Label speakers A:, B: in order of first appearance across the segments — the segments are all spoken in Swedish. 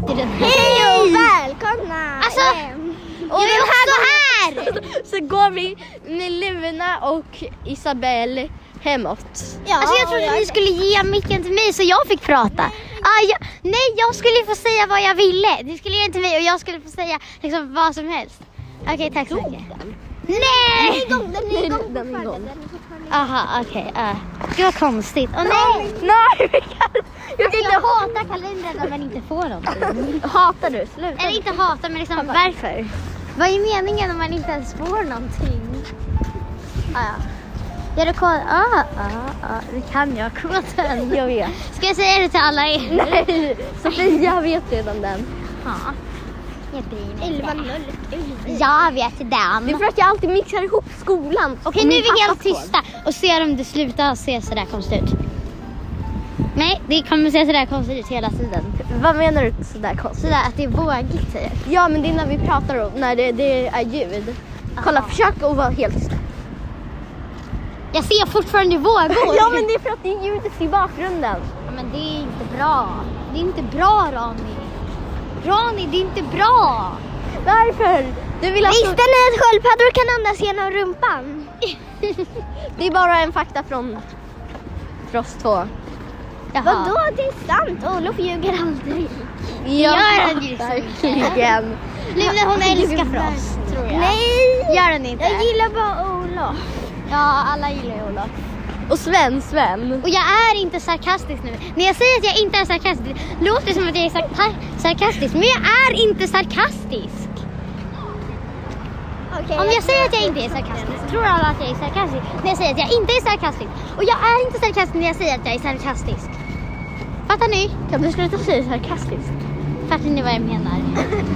A: podden.
B: Hej och välkomna
A: Alltså,
B: hem!
A: Och vi är också här! Så går vi med Luna och Isabelle hemåt.
B: Ja,
C: Alltså jag trodde
B: och
C: ni skulle ge micken till mig så jag fick prata. Ah, jag, nej, jag skulle få säga vad jag ville. Ni skulle ge den till mig och jag skulle få säga liksom, vad som helst. Okej, tack så mycket. Nej!
B: igång, den är igång
A: Den är igång.
B: fortfarande, den är fortfarande
C: Aha, okej. ah. Gud vad konstigt. Åh nej!
A: Nej, vi kan... jag kan
C: Jag hatar kalendern när man inte får någonting.
A: Hatar du? Sluta.
C: Eller inte hatar, men liksom varför? Vad är meningen om man inte ens får någonting? Ah, ja. Gör du kod? Ah, ah, ah. Nu kan jag koden.
A: Jag vet.
C: Ska jag säga det till alla er?
A: Nej, Sofia vet redan den.
C: Ja. Jag bryr mig inte.
B: 11.01.
C: Jag vet den.
A: Det är för att jag alltid mixar ihop skolan och
C: Okej, nu
A: min
C: är vi helt
A: pappas kod.
C: tysta och ser om det slutar se sådär konstigt ut. Nej, det kommer se sådär konstigt ut hela tiden.
A: Vad menar du sådär konstigt?
C: Sådär att det är vågigt typ.
A: Ja, men det är när vi pratar och när det, det är ljud. Kolla, försök att vara helt tyst.
C: Jag ser fortfarande vågor.
A: Ja, men det är för att det är ljudet i bakgrunden.
C: Ja, men det är inte bra. Det är inte bra Rani. Rani, det är inte bra.
A: Varför? Du vill att...
B: Visste ni att sköldpaddor kan andas genom rumpan?
A: Det är bara en fakta från... För oss två.
C: Jaha.
B: Vadå, det är sant! Olof ljuger aldrig.
C: Gör den ljusare. Luna hon älskar Frost tror jag.
B: Nej!
C: Gör den inte?
B: Jag gillar bara Olof.
C: Ja, alla gillar ju Olof.
A: Och Sven, Sven.
C: Och jag är inte sarkastisk nu. När jag säger att jag inte är sarkastisk, låter det som att jag är sarka- sarkastisk. Men jag är inte sarkastisk.
B: Okej,
C: Om jag säger att jag inte är sarkastisk, tror alla att jag är sarkastisk. När jag säger att jag inte är sarkastisk. Och jag är inte sarkastisk när jag säger att jag är sarkastisk. Fattar ni?
A: Kan du sluta säga sarkastiskt?
C: Fattar ni vad jag menar?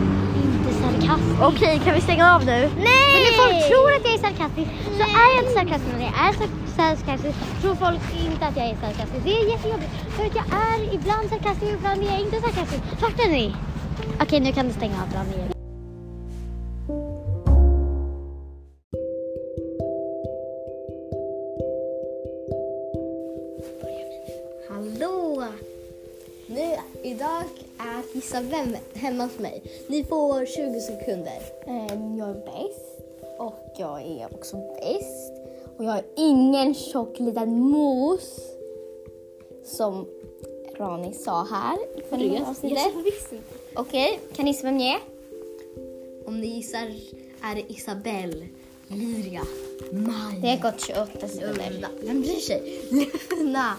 C: inte sarkastisk.
A: Okej, kan vi stänga av nu?
C: Men
B: Nej!
C: när folk tror att jag är sarkastisk så är jag inte sarkastisk. Men när jag är sar- sarkastisk tror folk inte att jag är sarkastisk. Det är jättejobbigt. För att jag är ibland sarkastisk och ibland är jag inte sarkastisk. Fattar ni? Okej, nu kan du stänga av bra igen.
D: Hallå! Nu, idag är Gissa vem hemma hos mig. Ni får 20 sekunder.
A: Eh,
E: Jag är bäst och jag är också bäst. Och jag har ingen tjock liten mos. Som Rani sa här i förra avsnittet. Okej, kan ni gissa vem jag är?
D: Om ni gissar är det Isabelle, Lyria, Maja,
E: Det har gått 28 sekunder.
D: Luna. Vem bryr sig? Luna!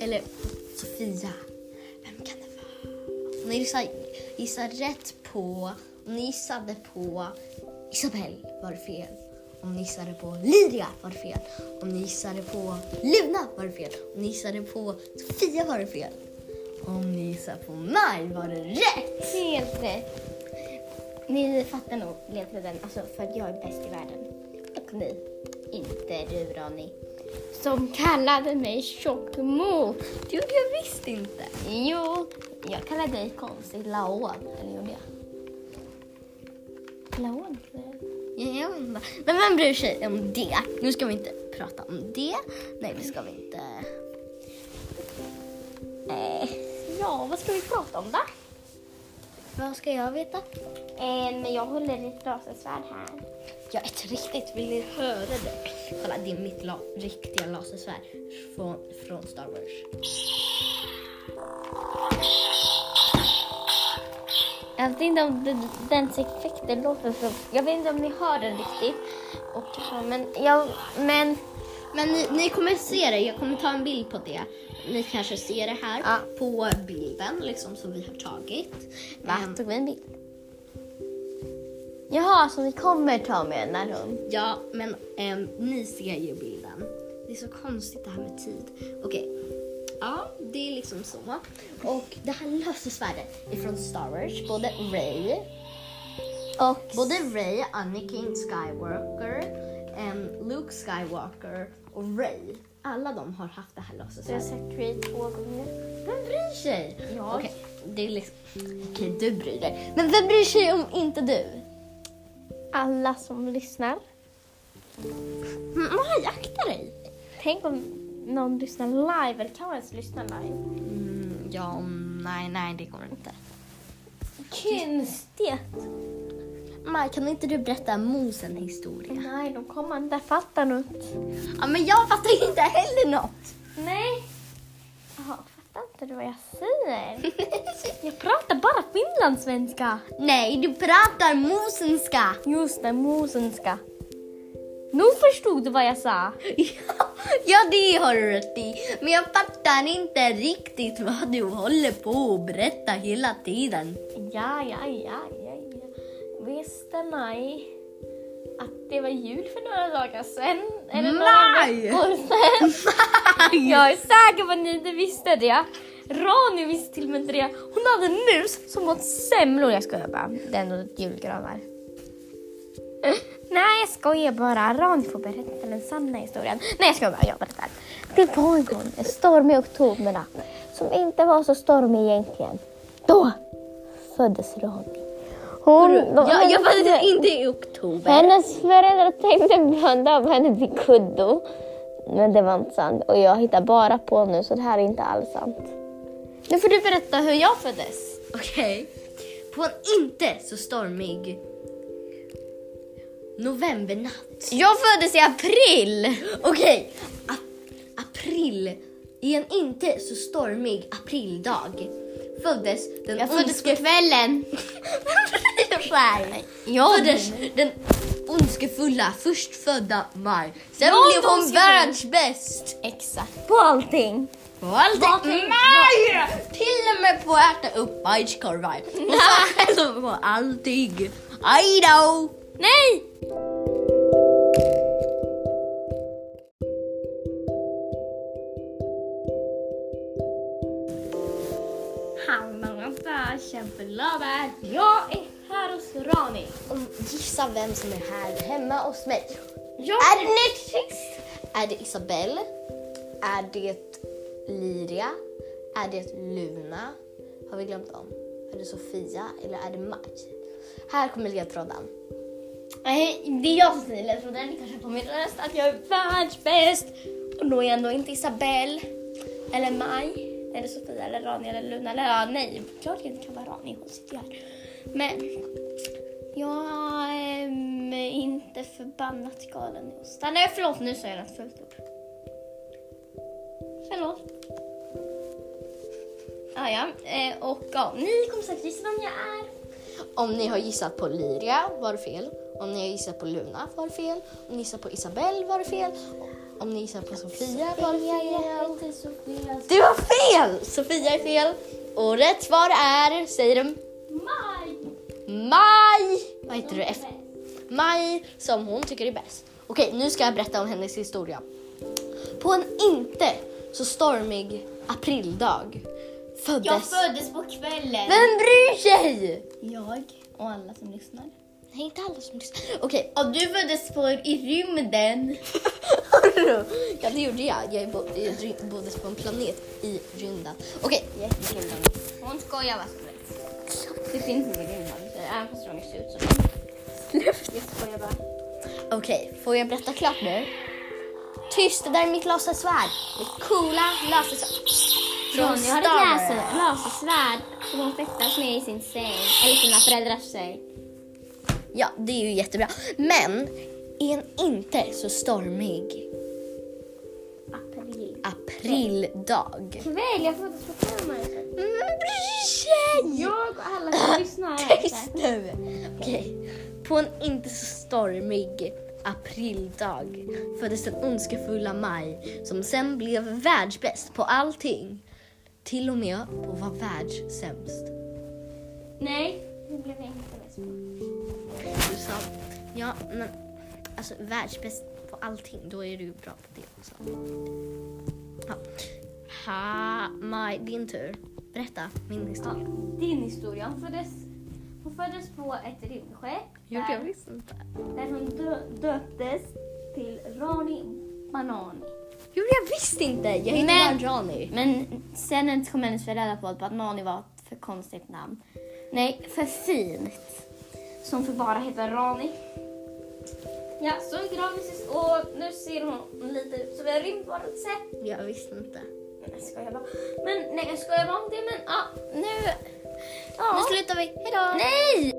D: Eller Sofia. Vem kan det vara? Om ni gissar, gissar rätt på... Om ni gissade på Isabelle var det fel. Om ni gissade på Lyria var det fel. Om ni gissade på Luna var det fel. Om ni gissade på Sofia var det fel. Om ni gissade på Maj var det rätt!
E: Helt rätt. Ni fattar nog ledtråden, alltså för att jag är bäst i världen. Och ni, inte du Rani. Som kallade mig tjockmo.
D: Det gjorde jag visst inte.
E: Jo, jag kallade dig konstigt Laon. Eller gjorde jag? Laon?
D: Jag vet inte. Men vem bryr sig om det? Nu ska vi inte prata om det. Nej, det ska vi inte.
E: Eh, ja, vad ska vi prata om då?
D: Vad ska jag veta?
E: Eh, men jag håller i ett lasersvärd här.
D: Jag är ett riktigt, vill ni höra det? Kolla, det är mitt la- riktiga lasersvärd från, från Star Wars.
E: Jag vet inte om den, den effekten låter så... Jag vet inte om ni hör den riktigt. Och, så, men jag... Men...
D: Men ni, ni kommer se det, jag kommer ta en bild på det. Ni kanske ser det här på bilden liksom som vi har tagit. Ehm,
E: Tog vi en bild? Jaha, så ni kommer ta med den här hon...
D: Ja, men ehm, ni ser ju bilden. Det är så konstigt det här med tid. Okej. Ja, det är liksom så. Och det här lösesvärdet är från Star Wars. Både Ray och både Ray, Anakin Skywalker, ehm, Luke Skywalker och Ray. Alla de har haft det här lösesvärdet.
E: sett Creed två gånger.
D: Vem bryr sig? Ja. Okej, det är liksom... Okej, du bryr dig. Men vem bryr sig om inte du?
E: Alla som lyssnar.
D: Mm, Maj, akta dig!
E: Tänk om någon lyssnar live, eller kan man ens lyssna live?
D: Mm, ja, nej, nej, det går inte. Konstigt.
E: Maj, kan inte du berätta mos en historia?
D: Nej, de kommer inte fatta något.
E: Ja, men jag fattar inte heller något.
D: Nej. Jaha, fattar inte du vad jag säger? Jag pratar bara finlandssvenska.
E: Nej, du pratar mosenska.
D: Just det, mosenska. Nu förstod du vad jag sa.
E: Ja, ja, det har du rätt i. Men jag fattar inte riktigt vad du håller på och berättar hela tiden.
D: Ja, ja, ja, ja, ja. Visste ni att det var jul för några dagar sedan? Eller några
E: Nej!
D: veckor sedan? Jag är säker på att ni inte visste det. Ronny visste till och med inte det. Hon hade en mus som åt semlor. Jag skojar bara. Det är ändå ett julgranar. Nej, jag skojar bara. Ronny får berätta den sanna historien. Nej, jag skojar bara. Jag berättar.
C: Det var en gång en stormig oktobernatt som inte var så stormig egentligen. Då föddes Ronny. Hon,
E: Ja, jag fattar inte i oktober.
C: Hennes föräldrar tänkte blanda av henne till kuddo. Men det var inte sant och jag hittar bara på nu så det här är inte alls sant.
D: Nu får du berätta hur jag föddes.
E: Okej. På en inte så stormig novembernatt.
D: Jag föddes i april.
E: Okej. A- april. I en inte så stormig aprildag föddes den
D: Jag föddes på
E: ondske...
D: kvällen.
E: Jag föddes den ondskefulla förstfödda Maj. Sen
D: Jag
E: blev hon
D: ondskefull.
E: världsbäst.
D: Exakt. På allting.
E: På allt Maj! Mm. Till och med på att äta upp bajskorvar. Hon sa hälsa på allting. Aj då!
D: Nej! Hallå farsan förlovade. Jag är här hos Rani.
E: Gissa vem som är här hemma hos mig.
D: Jag...
E: Är det Netflix? Är det Isabelle? Är det Liria? Är det Luna? Har vi glömt om? Är det Sofia eller är det Maj? Här kommer ledtråden.
D: Nej, Eh, det är jag som säger ledtråden. Ni kanske på min röst att jag är världsbäst. Och då är jag ändå inte Isabelle, eller Maj, eller Sofia, eller Rani, eller Luna, eller ja, nej, klart jag inte kan vara Rani, hon sitter ju här. Men jag är mm, inte förbannat galen i ostar. Nej, förlåt, nu sa jag något fullt upp. Förlåt. Ah, ja, eh, och ja, ni kommer säkert gissa vem jag är.
E: Om ni har gissat på Liria var det fel. Om ni har gissat på Luna var det fel. Om ni gissar på Isabelle var det fel. Om ni gissar på Sofia var det fel. Du har fel! Sofia är fel. Och rätt svar är, säger de,
D: Maj!
E: Maj! Vad heter du? F- Maj som hon tycker är bäst. Okej, nu ska jag berätta om hennes historia. På en inte så stormig aprildag föddes...
D: Jag föddes på kvällen.
E: Vem bryr sig?
D: Jag och alla som lyssnar.
E: Nej, inte alla som lyssnar. Okej,
D: Och du föddes på, i rymden.
E: Hörru! ja det gjorde jag. Jag bo- i ry- bodde på en planet i rymden. Okej,
D: Hon skojar vad som helst. Det finns inga rymdvarelser, även fast de ser ut som en. Jag skojar bara.
E: okej. Får jag berätta klart nu? Tyst, det där är mitt lasersvärd. Mitt coola lasersvärd. Från
D: Ronny har ett
E: Star
D: laser, lasersvärd som hon fäktas med i sin säng. Eller sina föräldrars säng.
E: Ja, det är ju jättebra. Men i en inte så stormig
D: April.
E: aprildag.
D: Kväll, jag föddes på kvällen.
E: Men bryr sig!
D: Jag och alla som lyssnar.
E: Tyst nu! Okej. På en inte så stormig aprildag föddes den ondskefulla Maj som sen blev världsbäst på allting. Till och med på att vara världssämst.
D: Nej, det blev jag inte bäst på.
E: Du sa, ja men alltså världsbäst på allting, då är du ju bra på det också. Ja. Ha, Maj, din tur. Berätta min
D: Ja,
E: historia.
D: din historia. Hon föddes, hon föddes på ett rymdskepp. där-
E: visst inte.
D: där hon dö- döptes till Rani Banani.
E: Gjorde jag visst inte! Jag heter
D: Men-
E: bara Rani.
D: Men sen kom hennes föräldrar på att Banani var ett för konstigt namn. Nej, för fint. Som för bara heter Rani. Ja, så är gravis och nu ser hon lite ut som en rymdvarelse.
E: Jag visste inte.
D: Nej, jag skojar bara. Men nej, jag skojar bara om det. Men ja, nu
F: Nu slutar vi. Hejdå!
E: Nej!